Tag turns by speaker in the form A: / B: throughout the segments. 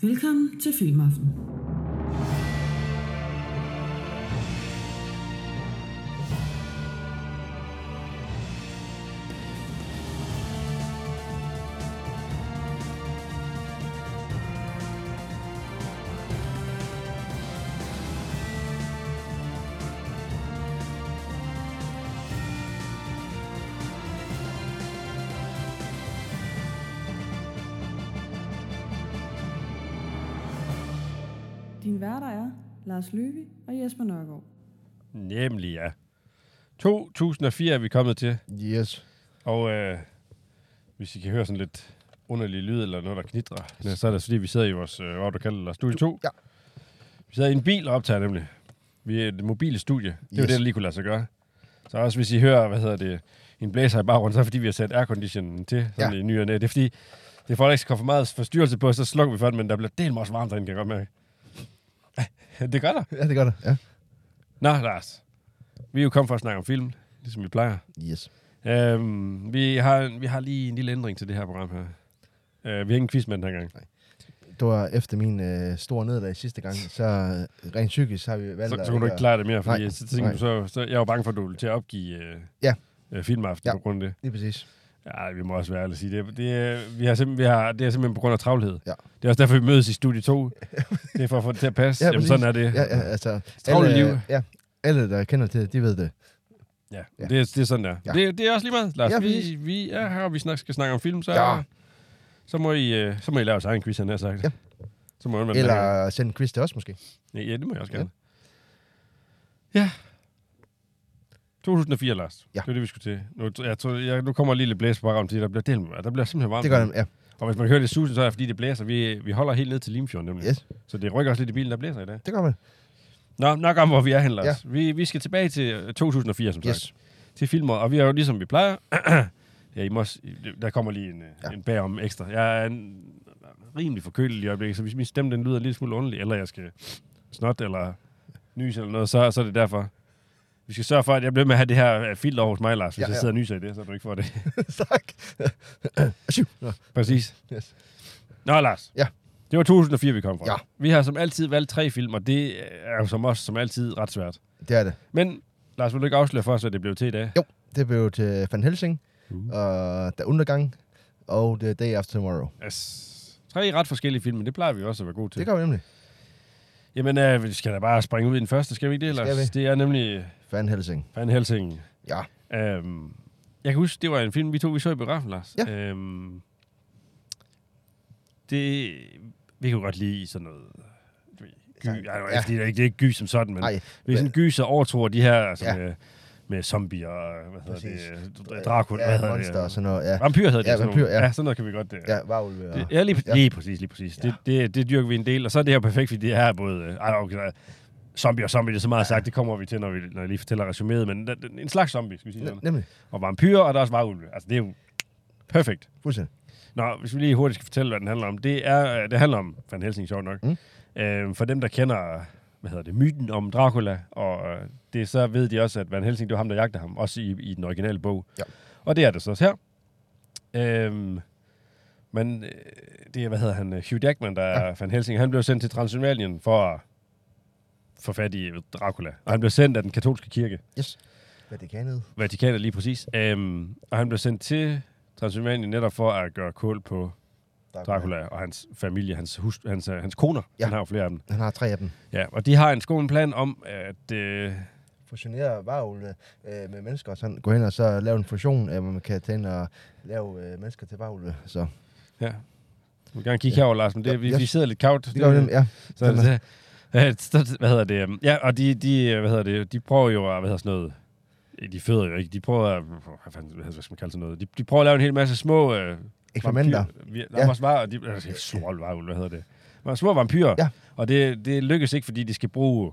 A: Velkommen til Filmaften.
B: Din værter er Lars Løvi og Jesper Nørgaard.
C: Nemlig, ja. 2004 er vi kommet til,
D: Yes.
C: og øh, hvis I kan høre sådan lidt underlig lyd eller noget, der knitrer, ja, så er det fordi, vi sidder i vores, øh, hvad du kalder det, studie 2.
D: ja.
C: Vi sidder i en bil og optager nemlig. Vi er et mobile studie. Det er jo
D: Yes.
C: det, der lige kunne lade sig gøre. Så også hvis I hører, hvad hedder det, en blæser i baggrunden, så er det fordi, vi har sat airconditionen til sådan ja.
D: Ja.
C: i ny og næ. Det er fordi, det er for, at der ikke skal komme for meget forstyrrelse på, så slukker vi for den, men der bliver delt også varmt derinde, kan jeg godt mærke. det gør der.
D: Ja, det gør det. Ja.
C: Nå, Lars. Vi er jo kommet for at snakke om film, ligesom vi plejer.
D: Yes.
C: Øhm, vi, har, vi har lige en lille ændring til det her program her. Øh, vi har ingen quiz med den her gang.
D: Det var efter min øh, store nederlag sidste gang, så øh, rent psykisk har vi valgt
C: Så,
D: at
C: så kunne du ikke
D: at-
C: klare det mere, fordi
D: Nej,
C: så tænker du, så, så, jeg var bange for, at du ville til at opgive øh,
D: Ja.
C: øh, filmaften
D: Ja.
C: på grund af det.
D: Lige præcis.
C: Ja, vi må også være ærlige og sige det. Det, er- vi har simpelthen, vi har, det er simpelthen på grund af travlhed.
D: Ja.
C: Det er også derfor, vi mødes i studie 2. det er for at få det til at passe.
D: Ja,
C: Jamen,
D: præcis.
C: sådan er det.
D: Ja, ja altså...
C: Travle liv.
D: Ja, alle, der kender til det, de ved det.
C: Ja,
D: Ja.
C: Det, er, det er sådan der. Ja.
D: Ja.
C: Det, det er også lige meget, Lars.
D: Ja,
C: Ja, vi,
D: præcis.
C: vi er her, og vi snak, skal snakke om film, så, ja.
D: Ja.
C: så, må, I, øh, så må I lave jeres egen quiz, han har sagt.
D: Ja.
C: Så må I undvære den her gang.
D: Eller send en quiz til os måske.
C: Ja, ja, det må jeg også gerne. Ja. ja. 2004, Lars.
D: Ja.
C: Det var det, vi skulle til. Nu, jeg tror, jeg, nu kommer lige lidt blæs på baggrund, fordi der bliver, delt, der bliver simpelthen varmt.
D: Det gør det, ja.
C: Og hvis man hører det susen, så er det fordi, det blæser. Vi, vi holder helt ned til Limfjorden, nemlig.
D: Yes,
C: Så det rykker også lidt i bilen, der blæser i dag.
D: det gør man.
C: Nå, nok om, hvor vi er hen, Lars. Ja. Vi, vi skal tilbage til øh, 2004, som
D: Yes.
C: sagt. Til filmer, og vi er jo ligesom vi plejer. ja, I må, også- der kommer lige en, ja.
D: Ja.
C: en bagom ekstra. Jeg er en, rimelig forkølet lige i øjeblikket, så hvis min stemme den lyder en lille smule underlig, eller jeg skal snot eller nys eller noget, så, så er det derfor. Vi skal sørge for, at jeg bliver med at have det her øh, filter over hos mig, Lars. Hvis ja,
D: Ja,
C: ja. jeg
D: ja.
C: sidder og nyser i det, så du ikke får det.
D: tak. Syv. Nå,
C: Præcis.
D: yes.
C: Nå, Lars.
D: Ja.
C: Det var 2004, vi kom fra.
D: Ja.
C: Vi har som altid valgt tre film, og det er jo som os som altid ret svært.
D: Det er det.
C: Men Lars, vil du ikke afsløre for os, hvad det blev til i dag?
D: Jo, det blev til Van Helsing,
C: Uh.
D: og Der Undergang, og The Day After Tomorrow.
C: Yes. Tre ret forskellige film, men det plejer vi også at være gode til.
D: Det gør vi nemlig.
C: Jamen, øh, vi skal da bare springe ud i den første, skal vi ikke det?
D: Skal
C: Lars?
D: vi?
C: Det er nemlig
D: Van Helsing.
C: Van Helsing.
D: Ja.
C: Øhm, jeg kan huske, det var en film, vi to vi så i biografen, Lars.
D: Ja.
C: Øhm, det, vi kan jo godt lide sådan noget... du ved, Gy, ja,
D: Altså, Ja.
C: det, er ikke, det er ikke gy som sådan, men
D: Nej,
C: vi er sådan
D: men-
C: gyser overtog de her altså,
D: Ja.
C: med, med zombier og hvad
D: Præcis.
C: hedder det, Dracula,
D: ja,
C: hvad hedder
D: monster og
C: det?
D: sådan noget. Ja,
C: Vampyr hedder det.
D: Ja,
C: sådan
D: vampyr,
C: nogle.
D: ja.
C: ja. sådan noget kan vi godt... øh,
D: ja varulve. Og...
C: Det, ja, lige, ja.
D: Ja.
C: lige præcis, lige præcis. Ja. Det, det, det dyrker vi en del, og så er det her perfekt, fordi det er både... Øh, ej, okay, der er zombie og zombie, det er så meget ja. sagt, det kommer vi til, når, vi, når jeg lige fortæller resuméet, men der, en slags zombie, skal vi sige
D: Ne-
C: sådan.
D: nemlig.
C: Og vampyrer, og der er også varulve. Altså, det er jo perfekt.
D: Fuldstændig.
C: Nå, hvis vi lige hurtigt skal fortælle, hvad den handler om. Det, er, øh, det handler om Van Helsing, sjovt nok. Mm.
D: Mm.
C: Øh, for dem, der kender hvad hedder det, myten om Dracula, og øh, det, så ved de også, at Van Helsing, det var ham, der jagter ham, også i, i den originale bog.
D: Ja.
C: Og det er det så også her. Øhm, men øh, det er, hvad hedder han, øh, Hugh Jackman, der er Van Helsing, han blev sendt til Transylvanien for at få fat i øh, Dracula. Og han blev sendt af den katolske kirke.
D: Yes. Vatikanet.
C: Vatikanet lige præcis. Øhm, og han blev sendt til Transylvanien netop for at gøre kul på Dracula og hans familie, hans, hus, hans, øh, hans koner. Ja.
D: Ja.
C: Han har jo flere af dem.
D: Han har tre af dem.
C: Ja, og de har en skolen plan om, at... Øh,
D: Fusionere varulve øh, med mennesker, og sådan gå hen og så lave en fusion, øh, hvor man kan tage ind og lave øh, mennesker til varulve. Så
C: ja, vi vil gerne kigge ja. herover, Lars, men det,
D: Ja,
C: vi,
D: yes.
C: vi sidder lidt kavt.
D: det gør vi nemlig, ja.
C: Så,
D: Sådan
C: så, øh, så, hvad hedder det? øh, Ja, og de, de, øh, hvad hedder det, de prøver jo at, hvad hedder sådan noget, øh, de føder jo ikke, de prøver at, hvad, fanden, hvad skal man kalde sådan noget, de, de prøver at lave en hel masse små... Øh,
D: Eksperimenter.
C: Vampyr, ja.
D: Ja.
C: Også var, de, altså, ikke slål, varul, hvad hedder det? Men små vampyrer.
D: Ja.
C: Og det, det lykkes ikke, fordi de skal bruge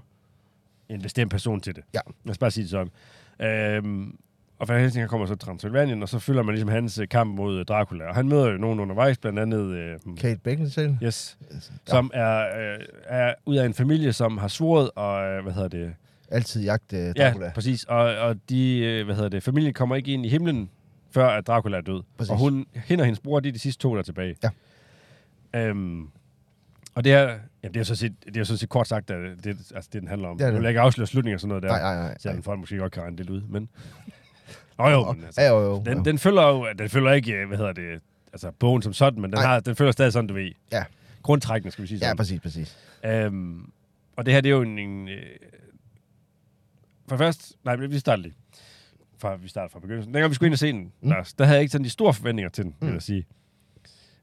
C: en bestemt person til det.
D: Ja.
C: Lad os bare sige det sådan. Øhm, og Van Helsing han kommer så til Transylvanien, og så følger man ligesom hans øh, kamp mod øh, Dracula. Og han møder jo nogen undervejs, blandt andet... Øh,
D: Kate Beckinsale.
C: Yes,
D: Ja.
C: som er, øh, er ud af en familie, som har svoret, og øh, hvad hedder det?
D: Altid jagt øh, Dracula.
C: Ja, præcis. Og, og de, øh, hvad hedder det, familien kommer ikke ind i himlen, før at Dracula er død.
D: Præcis.
C: Og hun, hende og hendes bror, de er de sidste to, der er tilbage.
D: Ja.
C: Øhm, Og det er, jamen, det er jo så set, det er jo så set kort sagt, at det, altså, det den handler om.
D: Det er
C: Det
D: det.
C: vil ikke afsløre slutninger og sådan noget der.
D: Nej, nej, nej.
C: Selvom folk måske godt kan regne det lidt ud, men... Nå jo, men altså,
D: Ja, jo, jo.
C: den, den følger jo den følger ikke, øh, hvad hedder det, altså bogen som sådan, men den,
D: Nej.
C: har, den følger stadig sådan, du ved.
D: Ja.
C: Grundtrækkende, skal vi sige
D: Ja,
C: sådan.
D: præcis, præcis.
C: Øhm, og det her, det er jo en... en øh, for først... Nej, men vi starter lige. Fra, vi starter fra begyndelsen. Dengang vi skulle ind og se den, mm.
D: Mm.
C: Lars, der havde jeg ikke sådan de store forventninger til den, mm. vil
D: Mm.
C: jeg sige.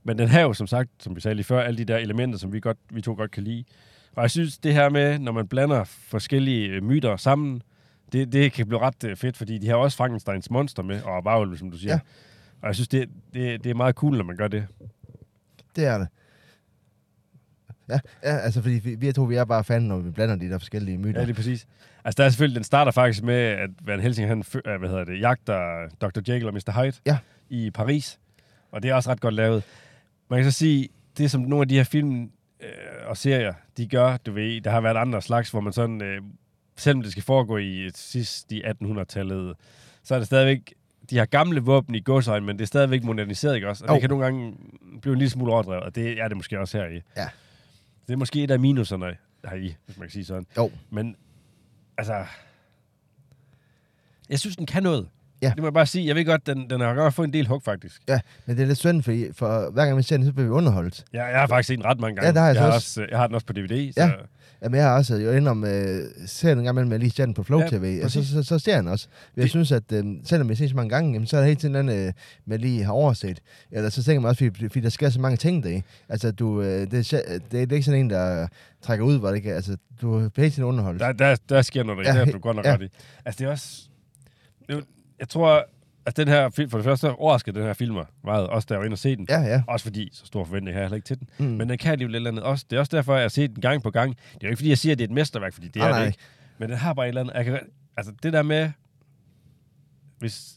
C: Men den har jo, som sagt, som vi sagde lige før, alle de der elementer, som vi, godt, vi to godt kan lide. Og jeg synes, det her med, når man blander forskellige øh, myter sammen, det, det kan blive ret øh, fedt, fordi de har også Frankensteins monster med, og varulve, som du siger. Ja.
D: Ja.
C: Og jeg synes, det, det, det er meget cool, når man gør det.
D: Det er det. Ja, ja altså fordi vi, vi to, vi er bare fan, når vi blander de der forskellige myter.
C: Ja, lige præcis. Altså, der er selvfølgelig, den starter faktisk med, at Van Helsing, han, fø- øh, hvad hedder det, jagter Dr. Jekyll og Mr. Hyde
D: Ja.
C: i Paris. Og det er også ret godt lavet. Man kan så sige, det som nogle af de her film øh, og serier, de gør, du ved, der har været andre slags, hvor man sådan, øh, selvom det skal foregå i sidst i 1800-tallet, så er det stadigvæk, de har gamle våben i godsøjen, men det er stadigvæk moderniseret, ikke også? Og det
D: Jo.
C: kan nogle gange blive en lille smule overdrevet, og det er det måske også her i.
D: Ja.
C: Det er måske et af minuserne heri, hvis man kan sige sådan.
D: Jo,
C: Men, altså... Jeg synes, den kan noget.
D: Ja.
C: Det må jeg bare sige. Jeg ved godt, den, den har godt fået en del hug, faktisk.
D: ja, men det er lidt synd, fordi for hver gang vi ser den, så bliver vi underholdt.
C: Jeg, jeg har faktisk set den ret mange gange.
D: Ja, det har jeg så
C: har
D: også.
C: øh, Jeg har den også på DVD, så...
D: Ja. Jamen, jeg har også jo inde om øh, serien en gang imellem, jeg lige ser den på Flow
C: Ja,
D: ja, TV, og så,
C: præcis.
D: så, så, ser jeg den også. Jeg
C: Det-
D: det... synes, at øh, selvom jeg ser så mange gange, jamen, så er der hele tiden den, øh, man lige har overset. Eller så tænker man også, fordi, fordi der sker så mange ting deri. Altså, du, øh, det, er, sjæ- det, det, er ikke sådan en, der trækker ud, hvor det ikke er. Altså, du bliver hele tiden underholdt.
C: Der, der, der sker noget, der
D: Ja,
C: ja, du godt nok ja.
D: ja.
C: ret i. Altså, det er også... Det, er jo- jeg tror, at den her film... For det første overrasker den her filmer meget. Også da jeg var inde og se den.
D: Ja, ja.
C: Også fordi, så stor forventning har jeg heller ikke til den. Mm.
D: Mm.
C: Men den kan alligevel et eller andet også. Det er også derfor, jeg har set den gang på gang. Det er jo ikke, fordi jeg siger, at det er et mesterværk, fordi det
D: Nej,
C: er det
D: Ah, nej.
C: ikke. Men den har bare et eller andet... Jeg kan, altså, det der med... Hvis...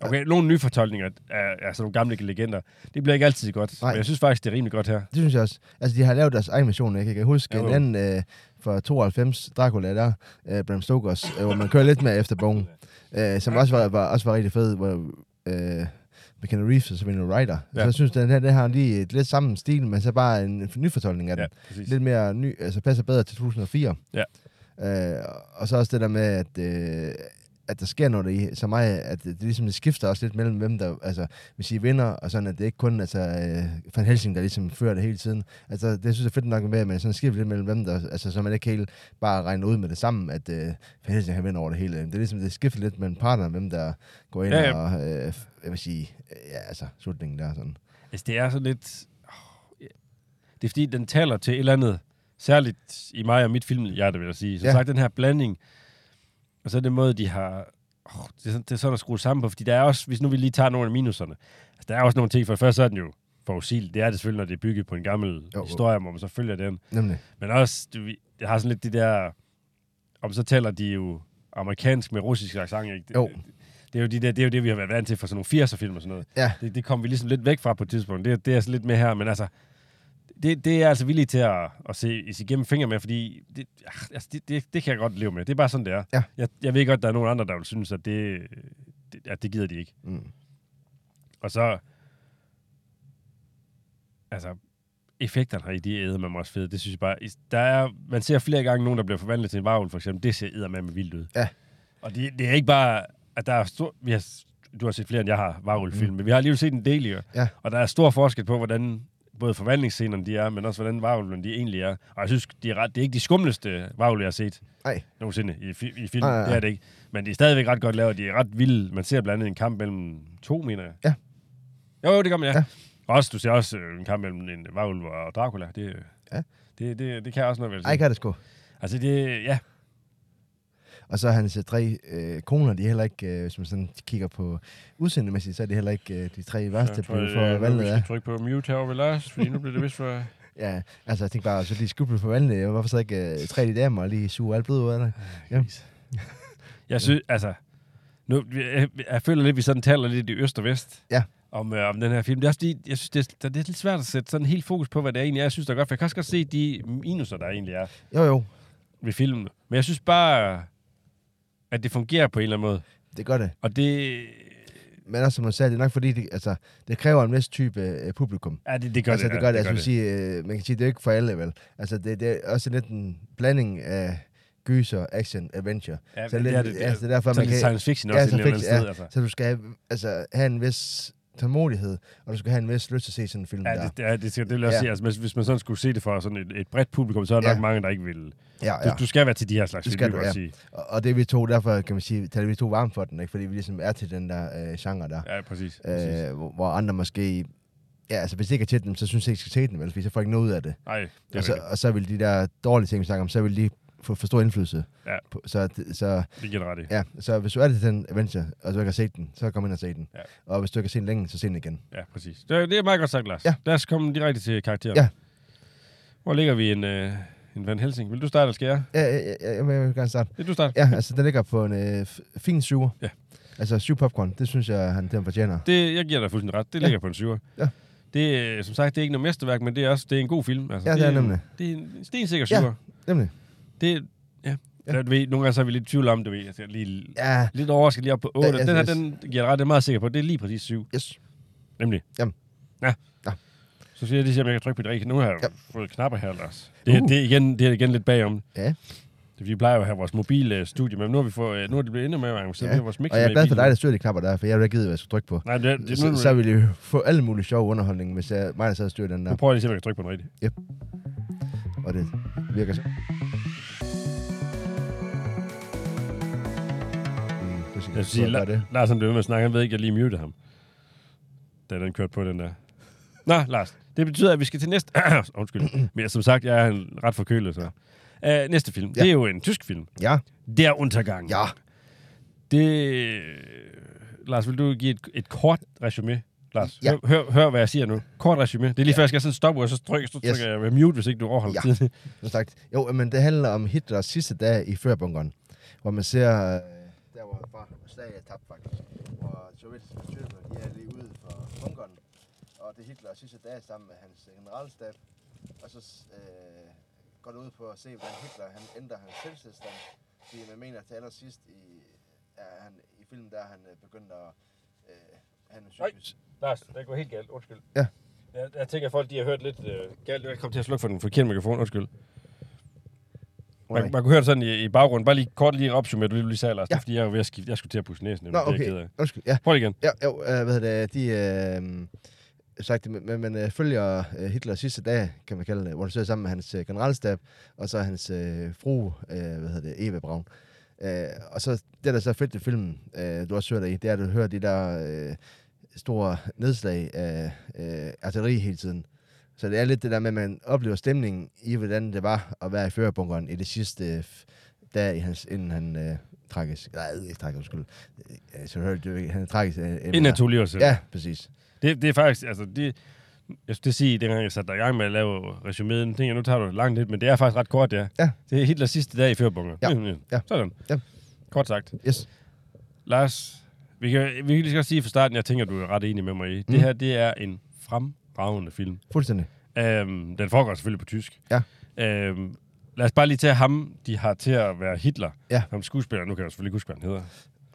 C: Okay, nogle nye fortolkninger af altså nogle gamle legender, det bliver ikke altid godt. Nej.
D: Nej.
C: Men jeg synes faktisk, det er rimelig godt her.
D: Det synes jeg også. Altså, de har lavet deres egen version, ikke? Jeg kan huske
C: Jo,
D: jo,
C: jo.
D: jo. den øh, fra 92, Dracula der, øh, Bram Stokers, øh, hvor man kører lidt mere efter bogen, øh, som også var, var, også var rigtig fed, hvor øh, McKenna Reeves og Savannah Ryder. Ja.
C: Ja.
D: Så jeg synes, den her den har lige et lidt samme stil, men så bare en nyfortolkning af den.
C: Ja,
D: Ja.
C: præcis.
D: Lidt mere ny, altså passer bedre til 2004.
C: Ja.
D: Øh, og så også det der med, at, øh, at der sker noget i så meget, at det, det ligesom det skifter også lidt mellem, hvem der altså, hvis I vinder, og sådan, at det ikke kun altså, øh, Van Helsing, der ligesom fører det hele tiden. Altså, det synes jeg er fedt nok med, at man sådan skifter lidt mellem, hvem der, altså, så man ikke helt bare regner ud med det samme, at øh, Van Helsing han vinder over det hele. Det er ligesom, det skifter lidt mellem partnerne, hvem der går ind
C: Ja,
D: ja,
C: ja.
D: ja. og, øh, jeg vil sige, øh, ja, altså, slutningen der, sådan.
C: Altså, det er sådan lidt... Åh, ja. Det er fordi, den taler til et eller andet, særligt i mig og mit filmhjerte, vil jeg sige. Som ja.
D: Ja.
C: sagt, den her blanding, og så den måde, de har... Oh, det, er sådan- det er sådan at skrue sammen på, fordi der er også, hvis nu vi lige tager nogle af minuserne, altså, der er også nogle ting, for det første så er den jo forudsigelig. Det er det selvfølgelig, når det er bygget på en gammel jo,
D: jo.
C: historie, hvor man så følger den.
D: Nemlig.
C: Men også, du, ved, jeg har sådan lidt det der... Om så taler de jo amerikansk med russisk accent, ikke? Det,
D: Jo.
C: Det, er jo de der, det er jo det, vi har været vant til fra sådan nogle 80'er film og sådan noget.
D: Ja.
C: Det, det kom vi ligesom lidt væk fra på et tidspunkt. Det, det er jeg sådan lidt med her, men altså... Det, det er jeg altså villig til at, at se, se igennem fingre med, fordi det, ah, altså det, det, det kan jeg godt leve med. Det er bare sådan, det er.
D: Ja.
C: Jeg, jeg ved godt, der er nogen andre, der vil synes, at det, det, at det gider de ikke.
D: Mm.
C: Og så... Altså, effekterne her i, de er man også fede. Det synes jeg bare... is- Der er, man ser flere gange nogen, der bliver forvandlet til en varvel, for eksempel. Det ser eddermame med vildt ud.
D: Ja.
C: Og det, det er ikke bare... At der er stor, vi har, s- du har set flere, end jeg har varvelfilm, mm. men vi har alligevel set en del i
D: Ja.
C: Og der er stor forskel på, hvordan både forvandlingsscenerne de er, men også hvordan varvelvene de egentlig er. Og jeg synes, de er ret, det er ikke de skumleste varvel, jeg har set
D: Ej,
C: nogensinde i, fi, i film.
D: Nej, nej,
C: Det er det ikke. Men de er stadigvæk ret godt lavet. De er ret vilde. Man ser blandt andet en kamp mellem to, mener jeg.
D: Ja.
C: Jo, jo, det gør man, ja. ja.
D: Ja.
C: Også, du ser også øh, en kamp mellem en varulv og Dracula. Det, ja.
D: Ja.
C: det, det, det kan jeg også noget, vil
D: ej,
C: jeg sige.
D: kan det sgu.
C: Altså, det, ja.
D: Og så hans øh, tre øh, koner, de er heller ikke, øh, hvis man sådan kigger på udseendemæssigt, så er det heller ikke øh, de tre værste på for valget af.
C: trykke på mute herovre ved Lars, fordi nu bliver det vist for...
D: Ja, altså jeg tænkte bare, så lige skubbel for valget, hvorfor så ikke øh, tre af de damer og lige suge alt blod ud af dig? Ja.
C: Jeg synes, altså... Nu, jeg, jeg føler lidt, at vi sådan taler lidt i øst og vest.
D: Ja.
C: Om, øh, om den her film. Det er også fordi, jeg synes, det er, det er lidt svært at sætte sådan helt fokus på, hvad det egentlig er. Jeg synes, der er godt, for jeg kan også godt se de minuser, der egentlig er.
D: Jo jo,
C: ved filmen. Men jeg synes bare, at det fungerer på en eller anden måde.
D: det gør det.
C: Og det...
D: Men også som hun sagde, det er nok fordi, det, altså, det kræver en vis type øh, publikum.
C: Ja, det, det gør
D: altså, det,
C: det.
D: gør det. Altså, det. Sige, øh, man kan sige, det er ikke for alle, vel? Altså, det, det er også lidt en blanding af gyser, action, adventure.
C: Ja,
D: så
C: men
D: lidt,
C: det er det.
D: altså, det er derfor,
C: Sådan
D: man
C: lidt
D: kan,
C: science fiction
D: Ja,
C: også et
D: science
C: eller andet
D: fiction,
C: sted. Altså.
D: så du skal have, altså, have en vis tålmodighed, og du skal have en vis lyst til at se sådan en film
C: Ja,
D: der.
C: det, ja, det, skal, det vil jeg også
D: Ja.
C: sige. Altså, hvis, hvis man sådan skulle se det for sådan et, et bredt publikum, så er der
D: Ja.
C: nok mange, der ikke vil.
D: ja,
C: Du,
D: ja.
C: du skal være til de her slags
D: Det
C: film, vil
D: skal du,
C: jeg
D: ja.
C: godt sige.
D: Og, og det er vi to, derfor kan man sige, taler vi to varmt for den, ikke? fordi vi ligesom er til den der øh, genre der.
C: Ja, præcis. præcis.
D: øh, hvor, hvor andre måske... Ja, altså hvis det ikke er til dem, så synes jeg ikke, jeg skal se den, vel? Fordi så får jeg ikke noget ud af det.
C: Nej, det er
D: Og så,
C: rigtigt.
D: og så vil de der dårlige ting, vi snakker om, så vil de få for stor indflydelse.
C: Ja.
D: På, så, det- så,
C: Det giver du ret i.
D: ja, så hvis du er til den adventure, og du ikke har set den, så kom ind og se den.
C: Ja.
D: Og hvis du ikke har set den længe, så se den igen.
C: Ja, præcis. Det er, det er meget godt sagt, Lars.
D: Ja.
C: Lad os komme direkte til karakteren.
D: Ja.
C: Hvor ligger vi en, øh, en Van Helsing? Vil du starte, eller skal jeg?
D: Ja, ja, ja, ja, men jeg vil gerne starte.
C: Vil du starte?
D: Ja, altså den ligger på en øh, f- fin syver.
C: Ja.
D: Altså syv popcorn, det synes jeg, han den fortjener.
C: Det, jeg giver dig fuldstændig ret. Det
D: Ja.
C: ligger på en syver.
D: Ja.
C: Det, er, som sagt, det er ikke noget mesterværk, men det er også det er en god film. Altså,
D: Ja, det er
C: en-
D: nemlig.
C: Det er en stensikker
D: Ja.
C: syver.
D: Nemlig.
C: Det, ja.
D: Ja.
C: ja. Du ved, nogle gange så er vi lidt i tvivl om det. Ved. jeg. Jeg skal lige,
D: Ja,
C: lidt overrasket lige op på 8.
D: Ja, altså,
C: Ja,
D: ja,
C: den her,
D: yes.
C: den giver jeg ret. Det er meget sikker på. Det er lige præcis 7.
D: yes.
C: Nemlig.
D: Jamen.
C: Ja.
D: Ja.
C: Så siger jeg lige, at jeg kan trykke på det rigtige. Nu har jeg
D: Ja.
C: ja. fået knapper her, Lars. Det, uh.
D: Uh.
C: det, er igen, det er igen lidt bagom.
D: Ja.
C: Det er, fordi Vi plejer jo at have vores mobile studie, men nu har vi fået, øh, nu er det blevet endnu mere avanceret. Ja. Vi har vores mixer
D: og jeg er
C: med i
D: glad for
C: bilen.
D: dig, der styrer de knapper der, for jeg ville ikke givet, hvad jeg skulle trykke på.
C: Nej, det, det, nu,
D: så, så ville I jo få alle mulige sjove underholdning, hvis jeg, mig der sad og styrede den der.
C: nu prøver jeg lige at se, om jeg kan trykke på den rigtige.
D: og det virker så. Mm, det er sikkert,
C: Jeg vil sige,
D: tror jeg, det. er
C: La- Lars han blev ved med at snakke, han ved ikke, at jeg lige mutede ham. Da den kørte på den der. Nå, Lars, det betyder, at vi skal til næste... Undskyld. Men som sagt, jeg er en ret forkølet, så... Uh, næste film,
D: Ja.
C: ja. det er jo en tysk film.
D: Ja,
C: Der Untergang.
D: ja.
C: Det... øh, Lars, vil du give et, et kort resume? Lars,
D: Ja.
C: ja. hør, hør, hør, hvad jeg siger nu. Kort resume. Det er lige ja. før, jeg skal sådan stoppe, og så trykker, så trykker yes. jeg mute, hvis ikke du overholder
D: Ja.
C: ja. tiden.
D: Som sagt. Jo, men det handler om Hitlers sidste dag i førbunkeren, hvor man ser... øh, Der hvor fra slaget er tabt faktisk, hvor sovjetiske styrker de er lige ude for bunkeren, og det er Hitlers sidste dag sammen med hans øh, generalstab, og så øh, går det ud på at se, hvordan Hitler han ændrer hans selvtilstand, fordi man mener til allersidst i, er han, i filmen, der er han øh, begyndt at... Øh, han er psykisk.
C: Lars, det går helt galt. Undskyld.
D: Ja.
C: Jeg, jeg tænker, at folk de har hørt lidt øh, galt. Jeg kom til at slukke for den forkerte mikrofon. Undskyld.
D: Under-
C: Man, man kunne høre det sådan i, i baggrunden. Bare lige kort lige opsummere, du lige sagde, Lars. Ja.
D: Ja.
C: Det er, fordi jeg er ved at skifte. Jeg skulle til at pusse næsen.
D: Nå,
C: Nå, okay. Det er jeg ked
D: okay.
C: af.
D: Undskyld, ja.
C: Prøv det igen.
D: Ja, jo, øh, hvad hedder det, de, øh, sagt, det, men man øh, følger øh, Hitlers sidste dag, kan man kalde det, hvor han sidder sammen med hans øh, generalstab, og så hans øh, fru, øh, hvad hedder det, Eva Braun. Øh, og så det, der så er fedt i filmen, øh, du også hører dig i, det er, at du hører de der øh, store nedslag af øh, artilleri hele tiden. Så det er lidt det der med, at man oplever stemningen i, hvordan det var at være i førerbunkeren i det sidste øh, f- dag, i hans, inden han øh, trækkes. Nej, ikke trækkes, undskyld. Øh, så hørte du ikke, han trækkes. Øh,
C: Inden jeg tog lige os.
D: Ja, præcis.
C: Det, det er faktisk, altså det, jeg skulle til at sige, dengang jeg satte dig i gang med at lave resuméen, tænkte jeg, nu tager du det langt lidt, men det er faktisk ret kort, det er.
D: Ja.
C: Det er Hitlers sidste dag i førbunger.
D: Ja. Ja.
C: Sådan.
D: Ja.
C: Kort sagt.
D: Yes.
C: Lars, vi kan, vi kan lige så godt sige fra starten, jeg tænker, du er ret enig med mig i.
D: Mm.
C: Det her, det er en fremragende film.
D: Fuldstændig.
C: Øhm, den foregår selvfølgelig på tysk.
D: Ja.
C: Øhm, lad os bare lige tage ham, de har til at være Hitler.
D: Ja.
C: Ham skuespiller, nu kan jeg selvfølgelig ikke huske, hvad han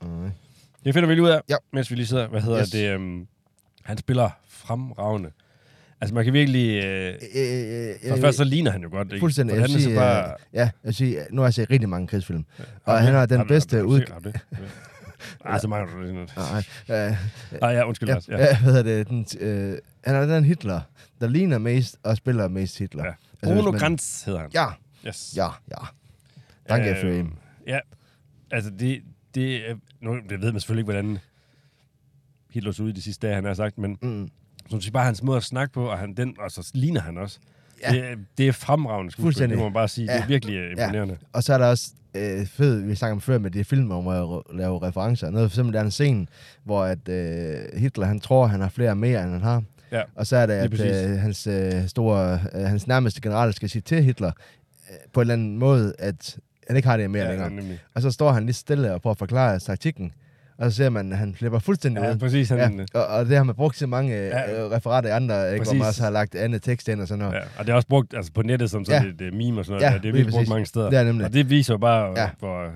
C: hedder.
D: Okay.
C: Det finder vi lige ud af,
D: Ja.
C: ja. mens vi lige sidder. Hvad hedder
D: Yes.
C: yes. det? Um, han spiller fremragende. Altså, man kan virkelig... Øh,
D: Øh, øh, øh,
C: for
D: øh,
C: først så ligner han jo godt, ikke?
D: Fuldstændig.
C: For
D: Jeg
C: det
D: vil,
C: andet
D: sige,
C: så bare...
D: øh, ja, jeg vil sige, nu har jeg set rigtig mange krigsfilm.
C: Har
D: Og
C: du
D: han
C: det?
D: har den
C: Har du-
D: bedste
C: har du
D: ud...
C: set- har du det? Ah, så mange har du det.
D: Nej, øh,
C: Nej, ja, undskyld,
D: ja,
C: Lars. Ja.
D: ja, hvad hedder det? Den, øh, han har den Hitler, der ligner mest og spiller mest Hitler.
C: Ja.
D: hvis
C: Bruno
D: man-
C: Granz hedder han.
D: Ja,
C: Yes.
D: ja, ja. Danke
C: Øhm,
D: for ham.
C: Ja, altså det, det, er- nu, det ved man selvfølgelig ikke, hvordan Hitler så ud i de sidste dage, han har sagt, men
D: Mm,
C: som du siger, bare hans måde at snakke på, og, han, den, og så ligner han også.
D: Ja.
C: Ja. Det, er- det er fremragende skuespil,
D: Fuldstændig.
C: det må man bare sige. Ja. Det
D: Ja.
C: er virkelig øh, imponerende.
D: Og så er der også øh, fed, vi snakker om før med de film, hvor man re- laver referencer. Noget for eksempel, der er en scene, hvor at, øh, Hitler han tror, han har flere mere, end han har.
C: Ja.
D: Og så er det,
C: Lige
D: at
C: præcis.
D: øh, hans, øh, store, øh, hans nærmeste general skal sige til Hitler øh, på en eller anden måde, at han ikke har det mere ja,
C: Ja,
D: længere.
C: nemlig.
D: Og så står han lige stille og prøver at forklare taktikken. Og så ser man, at han flipper fuldstændig
C: Ja,
D: ud.
C: præcis. Han, ja.
D: og, og det har man brugt til mange ja.
C: Ja.
D: øh, referater af andre, ikke, hvor man
C: Præcis.
D: også har lagt andet tekst ind og sådan noget.
C: Ja, og det er også brugt altså på nettet som sådan
D: Ja.
C: ja. et, et meme og sådan noget.
D: Ja,
C: Ja, det er
D: lige
C: virkelig brugt
D: præcis.
C: mange steder.
D: Det er nemlig.
C: Og det viser jo bare,
D: Ja.
C: ja. hvor,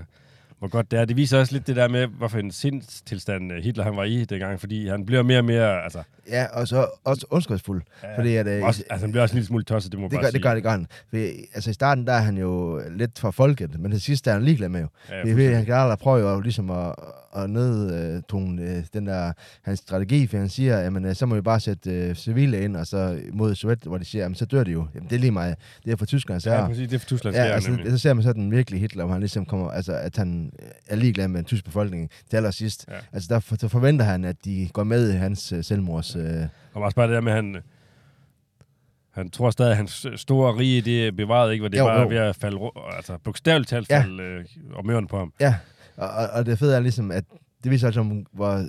C: hvor godt det er. Det viser også lidt det der med, hvorfor en sindstilstand øh, Hitler han var i dengang, fordi han bliver mere og mere, altså,
D: Ja, og så også ondskabsfuld.
C: Ja,
D: Ja, fordi at, øh,
C: også, altså han bliver også en lille smule tosset, det må man
D: det,
C: bare
D: gør,
C: sige.
D: det gør det gør han. Fordi, altså i starten, der er han jo lidt fra folket, men det sidste er han ligeglad med jo.
C: Ja,
D: Ja, fordi, han klarer, prøver jo ligesom at, at nedtone øh, den der, hans strategi, for han siger, jamen øh, så må vi bare sætte øh, civile ind, og så mod Sovjet, hvor de siger, jamen så dør de jo. Jamen det er lige meget, det er for tyskerne, så
C: Ja, præcis. Det er for Tyskland, ja,
D: Ja, altså,
C: nemlig.
D: så ser man så den virkelige Hitler, hvor han ligesom kommer, altså, at han er ligeglad med den tyske befolkning til allersidst.
C: Ja.
D: Ja. Altså, der, for, så forventer han, at de går med i hans øh, selvmords... Øh,
C: Og også bare det der med, at han, øh, han tror stadig, at hans store rige, det er bevaret ikke, hvor det er
D: Jo,
C: bare
D: jo.
C: ved at falde, ru- altså bogstaveligt talt
D: Ja.
C: falde øh, om øren på ham.
D: ja, og, og, og det fede er ligesom, at det viser altså, hvor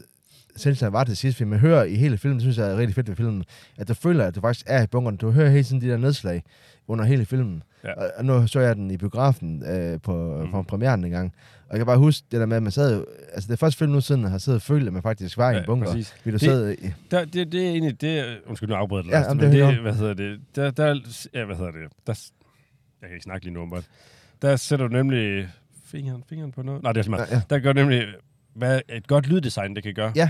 D: selvstændig var til sidst, fordi man hører i hele filmen, det synes jeg er rigtig fedt ved filmen, at du føler, at du faktisk er i bunkeren. Du hører hele tiden de der nedslag under hele filmen.
C: Ja.
D: Ja. Og, og, nu så jeg den i biografen øh, på, mm. på premieren engang. Og jeg kan bare huske det der med, at man sad, jo- altså det er første film nu siden, at jeg har siddet og følt, at man faktisk var i en bunker.
C: præcis.
D: Fordi du
C: Det-
D: sad i,
C: Der, det, det er egentlig, det, undskyld nu afbryder jeg dig,
D: Ja,
C: Lars,
D: jamen,
C: men
D: det er
C: det,
D: helt
C: hvad hedder det, der, der, ja, hvad hedder det, der, jeg kan ikke snakke lige nu om det. Der sætter du nemlig fingeren, fingeren på noget. Nej, det er simpelthen.
D: Ja, ja.
C: Der gør du nemlig, hvad et godt lyddesign, det kan gøre.
D: Ja.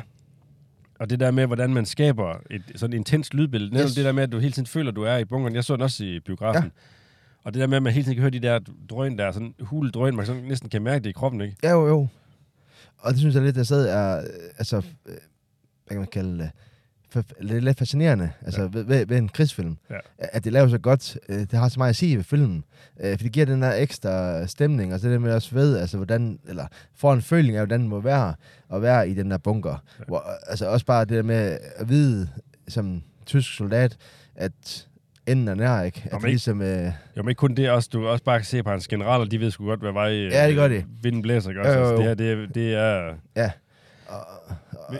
C: Og det der med, hvordan man skaber et sådan intens lydbillede. Netop
D: Yes.
C: det der med, at du hele tiden føler, du er i bunkeren. Jeg så den også i biografen. Og det der med, at man hele tiden kan høre de der drøn der, sådan hule drøn, man sådan næsten kan mærke det i kroppen, ikke?
D: Ja, jo, jo. Og det synes jeg lidt, der sad er, øh, altså, øh, hvad kan man kalde det, Fa- lidt, lidt fascinerende, altså ja. ved, ved, ved en krigsfilm.
C: Ja.
D: At det laver så godt, øh, det har så meget at sige ved filmen, øh, for det giver den der ekstra stemning, og så det med også ved, altså hvordan, eller får en føling af, hvordan det må være at være i den der bunker. Ja. Hvor, øh, altså også bare det der med at vide, som tysk soldat, at enden er nær, ikke? At
C: Om
D: det
C: ikke-
D: ligesom, øh,
C: Jo, men ikke kun det, også, du kan også bare kan se på hans generaler, de ved sgu godt, hvad vej øh,
D: Ja, det gør de.
C: vinden blæser, ikke?
D: Jo,
C: Også,
D: jo,
C: altså,
D: jo.
C: det her, det, er- det er...
D: ja. Og, og,
C: Vi-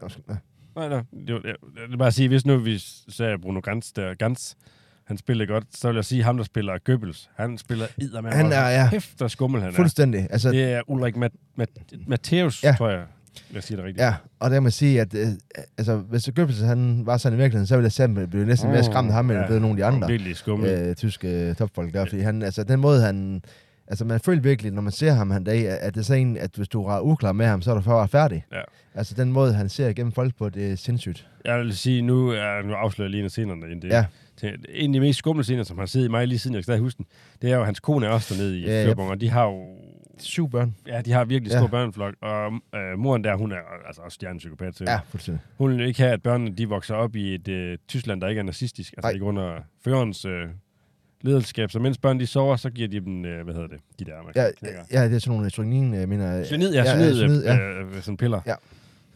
D: og, og,
C: Nej, nej, det, var- jeg, jeg vil bare sige, hvis nu vi sagde Bruno Gans, der, Gans, han spiller godt, så vil jeg sige, ham der spiller Goebbels, han spiller eddermame.
D: Han
C: også.
D: er- ja.
C: Kæft, der skummel han er.
D: fuldstændig. Altså,
C: Det er Ulrik Mat- Mat- Matthæus,
D: Ja.
C: tror jeg, jeg siger det rigtigt.
D: Ja, og der må jeg sige, at øh, altså, hvis Goebbels han var sådan i virkeligheden, så ville jeg selv blive næsten mere skræmt af ham, end jeg blev nogle af de
C: Han er
D: andre
C: Virkelig skummel.
D: øh, tyske øh, topfolk der. Fordi han, altså, den måde, han... Altså, man føler virkelig, når man ser ham han dag, at det er sådan en, at hvis du er uklar med ham, så er du før færdig.
C: Ja.
D: Altså, den måde, han ser igennem folk på, det er sindssygt.
C: Jeg vil sige, nu, er, nu afslører jeg lige en af scenerne. End det.
D: Ja.
C: Til- En af de mest skumle scener, som har siddet i mig lige siden, jeg kan stadig huske den, det er jo, at hans kone er også dernede i
D: Ja, ja.
C: ja, og de har jo
D: Syv børn.
C: Ja, de har virkelig
D: Ja.
C: stor ja. børneflok, og øh, moren der, hun er altså også stjernepsykopat til.
D: Ja, fuldstændig.
C: Hun vil ikke have, at børnene de vokser op i et øh, Tyskland, der ikke er nazistisk, altså
D: Nej.
C: ikke under førerens øh, lederskab. Så mens børnene de sover, så giver de dem, øh, hvad hedder det, de der, man
D: Ja,
C: knækker.
D: ja, det er sådan nogle strykningen, jeg mener... øh,
C: Cyanid, ja, cyanid, ja,
D: cyanid, ja.
C: Øh, øh, sådan piller.
D: Ja.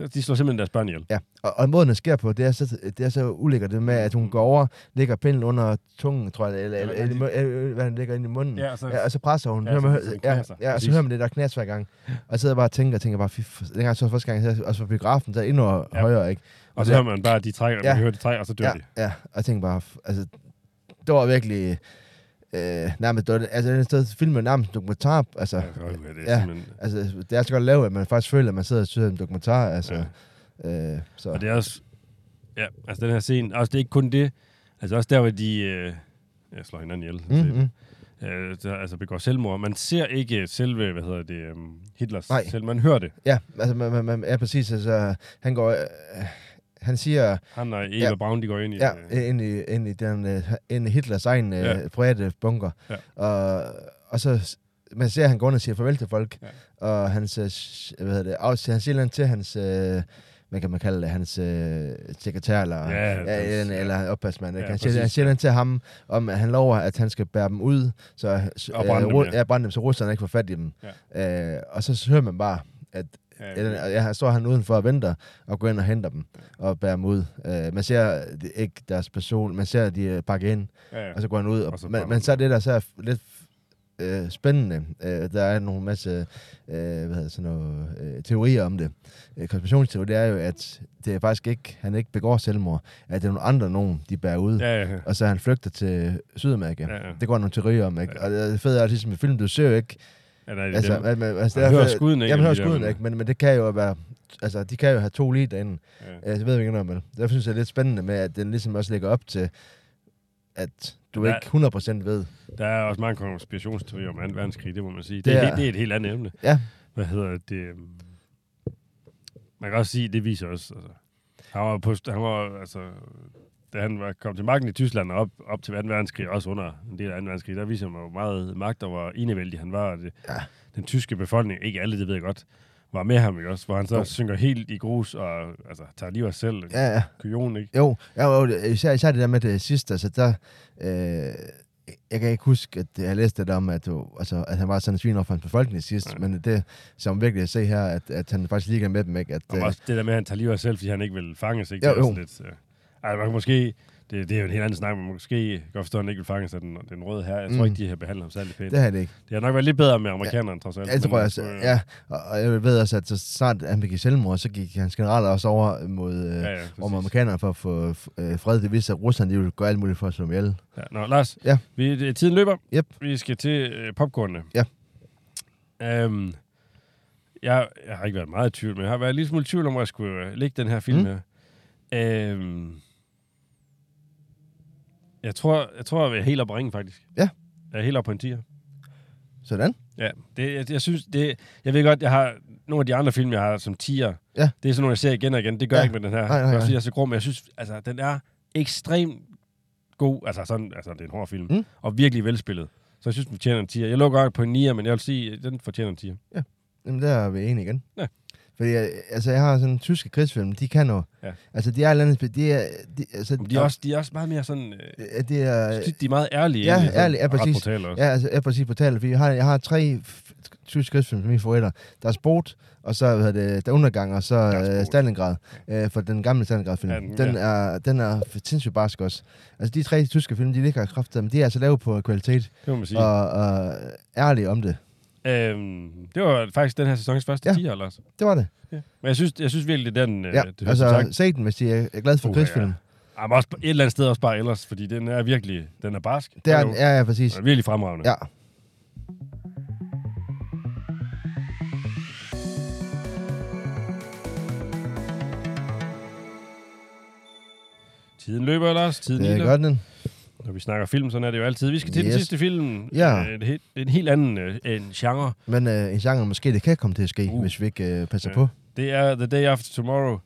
C: Så De slår simpelthen deres børn ihjel.
D: Ja, og, og måden, det sker på, det er så, det er så ulækkert, det med, at hun går over, lægger pinden under tungen, tror jeg, eller, eller,
C: Eller
D: eller, eller, eller hvad han lægger ind i munden.
C: Ja, og så-
D: ja, og så presser hun.
C: Ja,
D: Ja, hører
C: så-
D: man,
C: så den
D: ja,
C: knaser.
D: ja, og
C: Præcis.
D: så hører man det der knas hver gang. Og jeg sidder bare og tænker, og tænker bare, fy, for- dengang så første gang, jeg også på biografen, der er endnu
C: Ja.
D: ja. højere, ikke?
C: Og så
D: det-
C: hører man bare, at de trækker, ja.
D: Ja.
C: man hører de trækker, og så dør
D: ja,
C: de.
D: ja, og jeg tænker bare, f- altså, det var virkelig, øh, nærmest, det var, altså, det er et sted, filmen er nærmest en dokumentar, altså,
C: Ja,
D: ja.
C: det er
D: Ja.
C: simpelthen...
D: altså, det er så godt lavet, at man faktisk føler, at man sidder og synes, en dokumentar, altså, ja. øh, så.
C: Og det er også... Ja, altså den her scene. Også det er ikke kun det. Altså også der, hvor de... Øh, jeg slår hinanden ihjel. sådan set.
D: mm, mm.
C: øh, der, altså begår selvmord. Man ser ikke selve, hvad hedder det, um, Hitlers
D: Nej.
C: selv. Man hører det.
D: Ja, altså, man, man, man, ja, præcis. Altså, han går... Øh, han siger,
C: Han og Eva ja.
D: Ja.
C: Braun, de går ind i
D: ja,
C: øh,
D: ind i, ind i, den, øh, ind i Hitlers egen øh,
C: Ja.
D: ja. private bunker.
C: Ja.
D: Og, og så s- man ser, at han går ind og siger farvel til folk.
C: Ja.
D: Ja. Og hans, øh, sh- hvad hedder det, afs- han siger noget til hans, øh, hvad kan man kalde det, hans øh, sekretær, eller,
C: Ja, hans-
D: ja, eller, eller opholdsmand.
C: Ja,
D: Ja, han
C: præcis.
D: siger, han siger noget til ham, om at han lover, at han skal bære dem ud, så, s-
C: Og brænde
D: øh,
C: dem,
D: ru-
C: ja.
D: ja, brænde dem, så russerne ikke får fat i dem. Ja. Øh, og så s- hører man bare, at
C: ja,
D: Ja, den, jeg står han udenfor og venter, og går ind og henter dem, og bærer dem ud. Øh, man ser det, ikke deres person, man ser, at de øh, pakker ind,
C: ja, ja.
D: og så går han ud.
C: Og
D: Og,
C: så
D: og
C: brænder
D: men, men
C: de
D: så er det, der så er f- lidt øh, spændende. Øh, der er nogle masse øh, hvad hedder, sådan noget, øh, teorier om det. Øh, konspirationsteori, det er jo, at det er faktisk ikke, han ikke begår selvmord, at det er nogle andre nogen, de bærer ud.
C: ja, ja.
D: Og så han flygter til Sydamerika.
C: Ja, ja.
D: Det går nogle teorier om, ikke?
C: Ja.
D: Og det fede er, at ligesom i film, du ser jo ikke,
C: ja nej,
D: Altså,
C: altså,
D: man, man, altså,
C: Man
D: det er-
C: hører skuddene ikke,
D: Ja, man hører
C: de der-
D: skuden ikke, men, men det kan jo være... Altså, de kan jo have to lige derinde.
C: ja.
D: Altså, jeg ved ikke noget om det. Derfor synes jeg, det er lidt spændende med, at den ligesom også lægger op til, at du
C: Ja.
D: ja. ikke 100% ved.
C: Der er også mange konspirationsteorier om 2. verdenskrig, det må man sige. Det,
D: Det
C: det, er,
D: er-
C: helt- det er et helt andet emne.
D: Ja,
C: hvad hedder det? øhm, Man kan også sige, det viser også, altså, han var, på, han var altså, da han var, kom til magten i Tyskland og op, op til 2. verdenskrig, også under en del af 2. verdenskrig, der viser man jo meget magt, og hvor enevældig han var. og Det,
D: Ja.
C: Den tyske befolkning, ikke alle, det ved jeg godt, var med ham, ikke også? Hvor han så
D: Jo.
C: synker helt i grus og altså, tager livet af sig selv. Ja.
D: Ja, ja.
C: Kujon, ikke?
D: Jo, jo, jo det- især, især det der med det sidste, altså der, øh, jeg kan ikke huske, at jeg læste det der om, at, du, altså, at han var sådan en svin over for hans befolkning sidst,
C: Nej.
D: men det, som virkelig at se her, at, at han faktisk ligger med dem, ikke? At,
C: Og
D: øh,
C: også det der med, at han tager livet af sig selv, fordi han ikke vil fanges, ikke?
D: Jo,
C: det er også
D: jo.
C: lidt... Øh, altså, man kan måske... Det, det, er jo en helt anden snak, men man kan måske godt forstå, at han ikke vil fanges af den, den røde her. Jeg tror
D: Mm.
C: ikke, de har behandlet ham særlig pænt.
D: det
C: Det,
D: har det ikke.
C: det har nok været lidt bedre med amerikanerne, trods alt.
D: Ja, det
C: men
D: tror jeg
C: altså,
D: også. Ja, og, og jeg ved også, at så snart han begik selvmord, så gik hans generaler også over mod øh,
C: Ja,
D: ja,
C: ja, præcis.
D: om amerikanerne for at få øh, fred. Det viste sig, at russerne de ville gøre alt muligt for at slå dem ihjel.
C: Ja, nå, Lars,
D: Ja.
C: vi, det- tiden løber.
D: Yep.
C: Vi skal til øh, popcornene.
D: Ja.
C: Øhm, jeg, jeg har ikke været meget i tvivl, men jeg har været lidt smule i tvivl om, hvor jeg skulle øh, lægge den her film
D: Mm.
C: her. Øhm, jeg tror, jeg tror, jeg er helt oppe at ringe, faktisk.
D: Ja.
C: Jeg er helt oppe på en tier.
D: Sådan.
C: Ja, det, jeg, jeg synes, det, jeg ved godt, jeg har nogle af de andre film, jeg har som tier,
D: Ja.
C: det er sådan nogle, jeg ser igen og igen. Det gør
D: Ja.
C: jeg ikke med den her.
D: nej,
C: Det er også,
D: nej.
C: fordi jeg er så grum, men jeg synes, altså, den er ekstremt god. Altså, sådan, altså det er en hård film.
D: Mm.
C: Og virkelig velspillet. Så jeg synes, den fortjener en tier. Jeg lukker godt på en nier, men jeg vil sige, at den fortjener en tier.
D: Jamen, der er vi enige igen.
C: Ja.
D: Fordi jeg, altså, jeg har sådan tyske krigsfilm, de kan jo...
C: Ja.
D: Altså, de er et eller andet... De er, de, altså,
C: Men de er, også, de er også meget mere sådan... Øh,
D: Ja, det er...
C: jeg synes, de er meget ærlige.
D: ja,
C: egentlig, sådan,
D: ærlige, ja,
C: og ret
D: præcis.
C: brutale også.
D: Ja, altså, jeg er præcis på tallet, fordi jeg har, jeg har tre f- tyske krigsfilm som mine favoritter. Der er Sport, og så hvad hedder det, Der er Undergang, og så
C: er
D: øh,
C: Sport.
D: Stalingrad. Øh, for den gamle Stalingrad-film.
C: Ja,
D: Ja,
C: den-
D: den, den, er, den er f- sindssygt barsk også. Altså, de tre tyske film, de ligger kraft, men de er altså lavet på kvalitet
C: Det må man sige.
D: og, og ærlige om det.
C: Øhm, det var faktisk den her sæsons første
D: Ja.
C: tier, Lars.
D: Det var det.
C: Ja. Men jeg synes, jeg synes virkelig, det er den... Øh,
D: Ja,
C: det, altså,
D: altså,
C: sagt,
D: se den, hvis de er, er glad for
C: Uha,
D: krigsfilm.
C: Ej, men også et eller andet sted også bare ellers, fordi den er virkelig... Den er barsk.
D: Det er,
C: jo-
D: ja, ja, præcis.
C: Den er virkelig fremragende.
D: Ja.
C: Tiden løber, Lars. Tiden
D: Det er
C: iler.
D: godt, den.
C: Når vi snakker film, sådan er det jo altid. Vi skal til yes. den
D: Yes.
C: sidste film.
D: Ja.
C: Øh, Det er helt- det er en helt anden øh, en genre.
D: Men øh, en genre måske, det kan komme til at ske,
C: Uh.
D: uh. hvis vi ikke øh, passer
C: Ja.
D: ja. på.
C: Det er The Day After Tomorrow,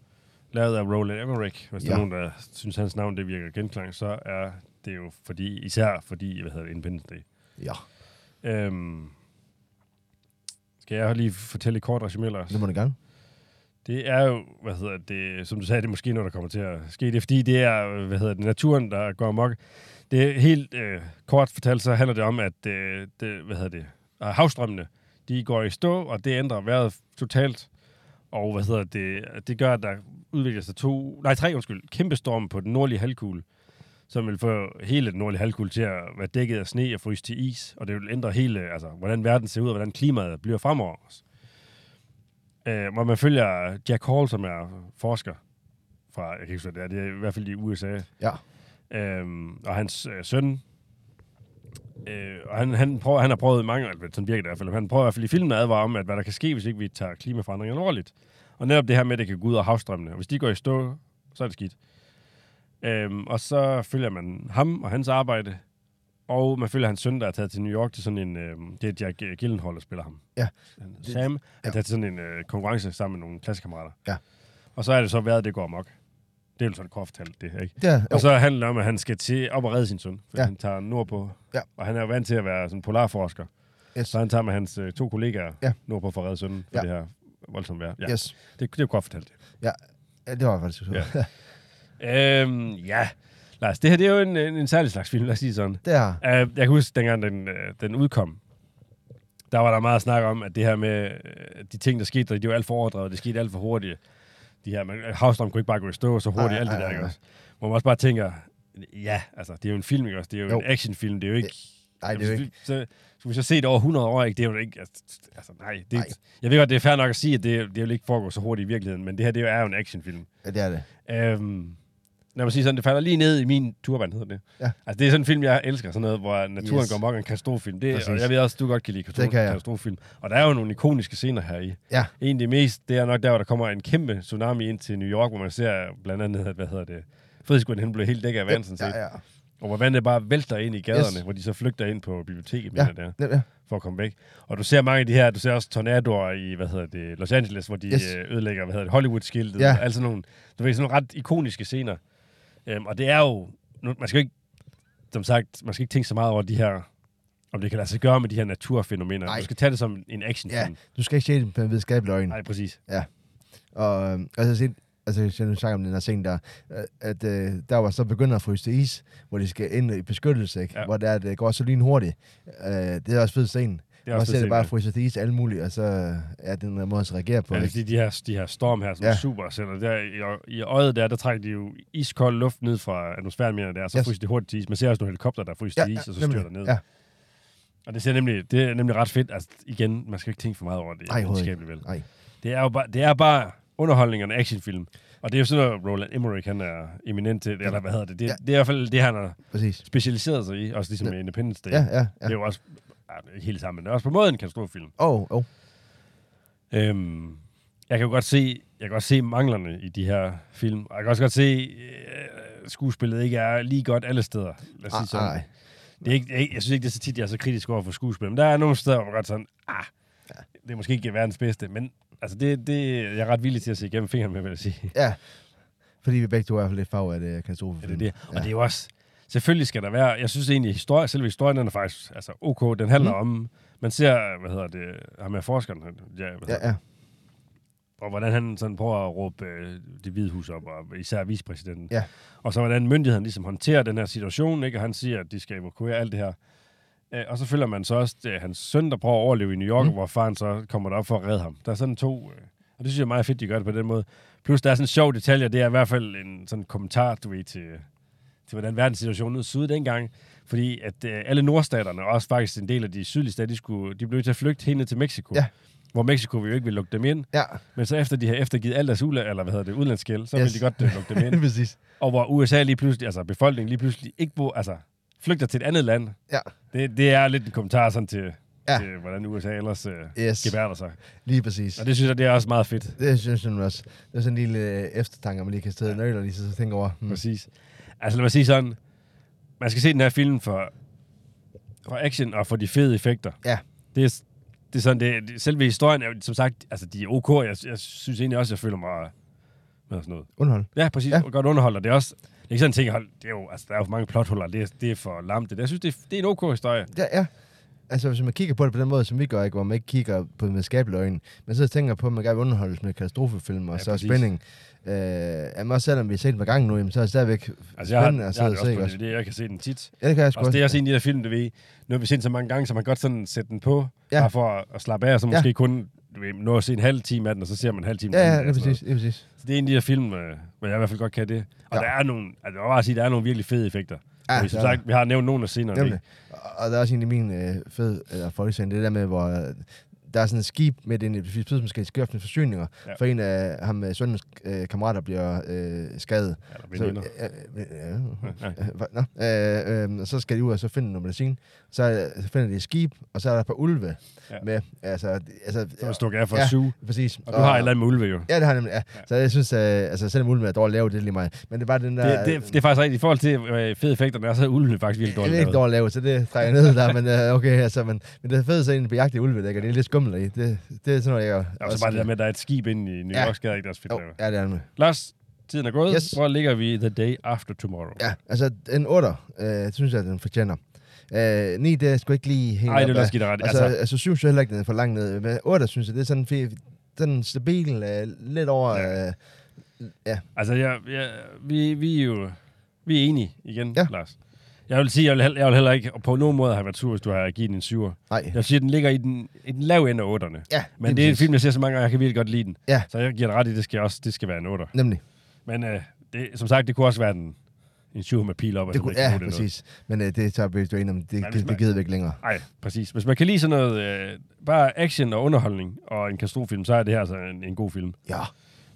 C: lavet af Roland Emmerich. Hvis ja. der er
D: Ja.
C: nogen, der synes, hans navn det virker genklang, så er det jo fordi, især fordi, hvad hedder det, Independence Day.
D: Ja,
C: Øhm, skal jeg lige fortælle et kort resumé, Lars?
D: det må det gang.
C: Det er jo, hvad hedder det, som du sagde, det er måske noget, der kommer til at ske. Det er fordi, det er, hvad hedder det, naturen, der går amok. Det er helt øh, kort fortalt, så handler det om, at øh, det, hvad hedder det, øh, havstrømmene, de går i stå, og det ændrer vejret totalt. Og hvad hedder det, det gør, at der udvikler sig to, nej tre, undskyld, kæmpe storm på den nordlige halvkugle, som vil få hele den nordlige halvkugle til at være dækket af sne og fryse til is, og det vil ændre hele, altså, hvordan verden ser ud, og hvordan klimaet bliver fremover også. Øh, hvor man følger Jack Hall, som er forsker fra, jeg kan ikke huske, hvad det er, det er i hvert fald i USA,
D: Ja.
C: øhm, og hans øh, søn. Øh, og han, han, prøver, han har prøvet mange, eller sådan virker det i hvert fald, han prøver i hvert fald i filmen at advare om, at hvad der kan ske, hvis ikke vi tager klimaforandringen alvorligt. Og netop det her med, at det kan gå ud af havstrømmene, og hvis de går i stå, så er det skidt. Øhm, og så følger man ham og hans arbejde, og man følger hans søn, der er taget til New York til sådan en... Øh, det er Jack øh, Gyllenhaal, der spiller ham.
D: Ja.
C: Han hedder Sam er
D: Ja.
C: taget til sådan en øh, konkurrence sammen med nogle klassekammerater.
D: Ja.
C: Og så er det så været, at det går amok. Det er jo sådan kort fortalt, det, ikke?
D: Ja, jo.
C: Og så handler det om, at han skal til op og redde sin søn, fordi ja.
D: Ja.
C: han tager nordpå.
D: Ja.
C: Og han er jo vant til at være sådan polarforsker.
D: oh, Yes.
C: Så han tager med hans øh, to kollegaer
D: Ja.
C: nordpå for at redde sønnen for ja.
D: Ja.
C: det her voldsomt vejr. Ja.
D: Yes.
C: Det, det er jo kort fortalt.
D: Ja, det var jeg faktisk.
C: Ja.
D: Ja.
C: Øhm, ja. Lars, det her det er jo en, en, en særlig slags film, lad os sige sådan.
D: det er
C: Uh, jeg kan huske, dengang den, uh, den udkom, der var der meget snak om, at det her med uh, de ting, der skete, der, de var alt for overdrevet, det skete alt for hurtigt. De her, man, havstrøm kunne ikke bare gå i stå så hurtigt,
D: Ej,
C: alt det
D: ej,
C: der,
D: ej,
C: ikke
D: ej.
C: også? Hvor man også bare tænker, ja, altså, det er jo en film, ikke også? Det er jo,
D: Jo.
C: en actionfilm, det er jo ikke...
D: Nej, det er jo ikke.
C: Så, skulle vi så se det over 100 år, ikke? Det er jo ikke... Altså, altså nej. Det,
D: Nej.
C: jeg ved godt, det er fair nok at sige, at det, det vil ikke foregå så hurtigt i virkeligheden, men det her, det er jo en actionfilm.
D: Ja, det er det.
C: Øhm, lad mig sige sådan, det falder lige ned i min turban, hedder det.
D: Ja.
C: Altså, det er sådan en film, jeg elsker, sådan noget, hvor naturen yes.
D: Yes.
C: går mok en katastrofefilm. Det, og
D: Præcis.
C: jeg ved også, du godt kan lide katastrof-
D: Det kan jeg.
C: katastrofefilm. Og der er jo nogle ikoniske scener her i.
D: Ja.
C: En af de mest, det er nok der, hvor der kommer en kæmpe tsunami ind til New York, hvor man ser blandt andet, at, hvad hedder det, Frihedsgrunden, han blev helt dækket af vand, sådan set.
D: Ja, ja.
C: Og hvor vandet bare vælter ind i gaderne,
D: Yes.
C: yes. hvor de så flygter ind på biblioteket, mener jeg, det er,
D: Ja, ja.
C: for at komme væk. Og du ser mange af de her, du ser også tornadoer i, hvad hedder det, Los Angeles, hvor de
D: Yes.
C: yes. ødelægger, hvad hedder det, Hollywood-skiltet,
D: Ja.
C: ja. altså nogle, du ved, sådan nogle ret ikoniske scener. Øhm, og det er jo, nu, man skal jo ikke, som sagt, man skal ikke tænke så meget over de her, om det kan lade sig gøre med de her naturfænomener.
D: Nej.
C: Du skal tage det som en actionfilm.
D: Du skal ikke se det med videnskabelige øjne.
C: Nej, præcis.
D: Og, øhm, og så set, altså hvis jeg nu snakker om den her ting der, øh, at øh, der var så begynder at fryse til is, hvor de skal ind i beskyttelse, ikke? Ja.
C: Ja.
D: hvor der, det går så lynhurtigt. Øh, det er også fedt scenen.
C: Det
D: Og så
C: fedt
D: ser det
C: set,
D: bare
C: ja.
D: fryser til is alt muligt, og så øh, er det den der måde at reagere på.
C: Ja, det er
D: ikke?
C: fordi, Altså, de her, de her storm her, sådan
D: Ja.
C: ja. super sender, der, i, i øjet der, der trækker de jo iskold luft ned fra atmosfæren, mener jeg, det er, så
D: Yes.
C: yes. fryser det hurtigt til is. Man ser også nogle helikopter, der fryser ja, til is, og så
D: nemlig.
C: styrer ned.
D: Ja.
C: Og det, ser nemlig, det er nemlig ret fedt. Altså, igen, man skal ikke tænke for meget over det.
D: Nej, overhovedet ikke.
C: videnskabelige vel.
D: Nej.
C: Det er jo bare, det er bare underholdning og en actionfilm. Og det er jo sådan noget, Roland Emmerich, han er eminent til, eller hvad hedder det. Det,
D: Ja.
C: ja. det er i hvert fald det, han har
D: Præcis.
C: specialiseret sig i, også ligesom
D: Ja.
C: med Independence Day.
D: Ja, ja, ja.
C: Det er jo også, ej, det er ikke helt sammen, men det er også på en måde en katastroffilm.
D: Åh, oh, oh.
C: Øhm, jeg kan jo godt se, jeg kan godt se manglerne i de her film. Og jeg kan også godt se, øh, skuespillet ikke er lige godt alle steder. Lad os sige sådan.
D: Nej,
C: Det er ikke, jeg, jeg synes ikke, det er så tit, jeg er så kritisk over for skuespil. Men der er nogle steder, hvor jeg godt sådan, ah, det er måske ikke verdens bedste. Men altså, det, det, jeg er ret villig til at se igennem fingrene med, vil jeg sige.
D: ja. Fordi vi begge to er i hvert fald lidt farve af det katastrofe.
C: Ja, det er det. Og
D: Ja.
C: det er jo også... Selvfølgelig skal der være... Jeg synes egentlig, historie, selve historien, den er faktisk altså, ok. Den handler mm. om... Man ser, hvad hedder det... Ham er forskeren, han, ja, hvad
D: Ja,
C: hedder
D: ja.
C: og hvordan han sådan prøver at råbe øh, det hvide hus op, og især vicepræsidenten.
D: Ja.
C: Og så hvordan myndigheden ligesom håndterer den her situation, ikke? og han siger, at de skal evakuere alt det her. Øh, og så følger man så også øh, hans søn, der prøver at overleve i New York,
D: Mm.
C: mm. hvor faren så kommer derop for at redde ham. Der er sådan to, øh, og det synes jeg er meget fedt, de gør det på den måde. Plus der er sådan en sjov detalje, og det er i hvert fald en sådan kommentar, du ved, til, til hvordan verdenssituationen ud syd dengang. Fordi at øh, alle nordstaterne, og også faktisk en del af de sydlige stater, de, skulle, de blev nødt til at flygte helt ned til Mexico.
D: Ja.
C: Hvor Mexico jo ikke ville lukke dem ind.
D: Ja,
C: Men så efter de har eftergivet alt deres ula, eller hvad hedder det, udlandsgæld, så
D: Yes.
C: yes. vil de godt øh, lukke dem ind.
D: præcis.
C: Og hvor USA lige pludselig, altså befolkningen lige pludselig ikke bo, altså flygter til et andet land.
D: Ja.
C: Det, det er lidt en kommentar sådan til,
D: Ja.
C: ja. til hvordan USA ellers øh,
D: Yes.
C: yes. gebærder sig.
D: Lige præcis.
C: Og det synes jeg, det er også meget fedt.
D: Det synes jeg nu også. Det er sådan en lille øh, eftertanke, man lige kan sidde og nøgle og lige sidde og tænke over. Hmm.
C: Præcis. Altså lad mig sige sådan, man skal se den her film for, for action og for de fede effekter.
D: Ja.
C: Det er, det er sådan, det, det, selve historien er jo, som sagt, altså de er ok. Jeg, jeg synes egentlig også, jeg føler mig med sådan noget.
D: Underhold.
C: Ja, præcis.
D: Ja.
C: Ja. Godt underholder. Det er også... Det er ikke sådan en ting, hold, det er jo, altså, der er jo for mange plothuller. Det, er- det er for lamt. Det, der. jeg synes, det er, det er en ok historie.
D: Ja, ja. Altså, hvis man kigger på det på den måde, som vi gør, ikke, hvor man ikke kigger på det med skabeløgn, men så tænker på, at man gerne vil underholdes med katastrofefilm og ja,
C: Ja,
D: så
C: præcis.
D: spænding. Øh, jamen, også selvom vi har set den par gange nu, jamen, så er det stadigvæk
C: Altså, jeg har,
D: spændende
C: jeg
D: at
C: har
D: sidde
C: det
D: og se. ikke
C: også
D: Også.
C: på DVD. Jeg kan se den tit.
D: Ja, det kan jeg sgu
C: Også det er også
D: også.
C: en af de der film, du ved. Nu har vi set den så mange gange, så man kan godt sådan sætte den på,
D: Ja.
C: ja. bare for at, at slappe af, og så
D: Ja.
C: måske kun du ved, nå at se en halv time af den, og så ser man en halv time
D: Ja,
C: af den.
D: ja,
C: eller
D: lige
C: sådan
D: præcis. Lige præcis.
C: noget. Så det er en af de der film, øh, hvor jeg i hvert fald godt kan det. Og ja.
D: Ja.
C: der er nogle, altså, jeg vil bare sige, der er nogle virkelig fede effekter.
D: Ja,
C: Ja, vi, som
D: der er-
C: sagt, vi har nævnt nogle af scenerne.
D: Nemlig.
C: ikke?
D: Og- Og der er også en af mine øh, fede øh, folkesang, det der med, hvor øh, der er sådan et skib med den et skib, som skal skaffe nogle forsyninger, ja.
C: Ja.
D: for en af ham øh, søndens øh, kammerater bliver øh, skadet.
C: Ja, der er veninder.
D: øh, øh, øh,
C: Ja, ja.
D: øh, øh, nå, øh, øh, og så skal de ud og så finde noget medicin. Så, øh, så finder de et skib, og så er der et par ulve ja.
C: Ja.
D: med. Altså, altså,
C: Så er der stukket af for
D: Ja.
C: at suge.
D: præcis.
C: Og du har et eller andet med ulve, jo.
D: Ja, det har jeg nemlig. Ja. Så jeg synes, øh, altså, selvom ulve er dårligt lavet, det er lige meget. Men det er bare den der...
C: Det, det, det er faktisk rigtigt. I forhold til øh, fede effekterne, er så er ulvene faktisk virkelig
D: Det
C: dårligt.
D: er ikke
C: lavet.
D: dårligt lavet, så det trækker jeg ned der, men øh, okay, altså, men, men det er fedt så egentlig på jagt i ulve, ikke? Og det er lidt skummelt i. Det, det er sådan noget, jeg
C: Der er også bare det der med, at der er et skib inde i New
D: Ja.
C: York, skal ikke også fedt
D: Jo,
C: lavet.
D: ja, det er det.
C: Lars, tiden er gået.
D: Yes.
C: Yes. Hvor ligger vi the day after tomorrow?
D: Ja, altså en 8, øh, synes jeg, den fortjener. Øh, 9, det er sgu ikke lige helt
C: Ej, det
D: op
C: vil
D: ad.
C: også give dig ret.
D: Altså,
C: Altså,
D: altså, altså 7 synes jeg heller ikke, den er for langt ned. Men 8, synes jeg, det er sådan, fordi den stabil, øh, lidt over...
C: Ja.
D: Øh,
C: altså jeg, jeg, vi, vi er jo vi er enige igen,
D: Ja.
C: ja. Lars. Jeg vil sige, jeg vil, hell- jeg vil heller ikke på nogen måde have været sur, hvis du har givet den en syver.
D: nej.
C: Jeg vil sige, at den ligger i den, i den lave ende af otterne.
D: Ja,
C: Men
D: lige
C: det er en
D: præcis.
C: film, jeg ser så mange gange, jeg kan virkelig godt lide den.
D: Ja.
C: Så jeg giver dig ret i, det skal også det skal være en otter.
D: Nemlig.
C: Men øh, det, som sagt, det kunne også være den, en syver med pil op. og
D: Det
C: sådan
D: kunne,
C: noget,
D: ja,
C: ikke noget.
D: præcis. Men øh, det tager vi jo ind om. Det,
C: hvis
D: det, det
C: man-
D: gider vi ikke længere.
C: Nej, præcis. Hvis man kan lide sådan noget, øh, bare action og underholdning og en katastroffilm, så er det her altså en, en god film.
D: Ja.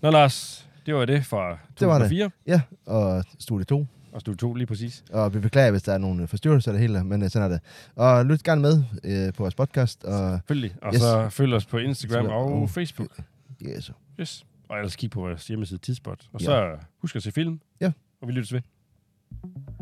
C: Nå Lars, det var det fra
D: Det var det.
C: 2004, det
D: Ja, og studie 2.
C: og Studie 2 lige præcis.
D: Og vi beklager, hvis der er nogle øh, forstyrrelser eller hele, men øh, sådan er det. Og lyt gerne med øh, på vores podcast. Og,
C: Selvfølgelig. Og yes.
D: Yes. Mm.
C: så følg os på Instagram
D: Instagram
C: og
D: og-
C: Facebook.
D: yes.
C: Yes. Og ellers kig på vores hjemmeside Tidspot. Og
D: Ja.
C: så husk at se film.
D: Ja.
C: Og vi lyttes ved.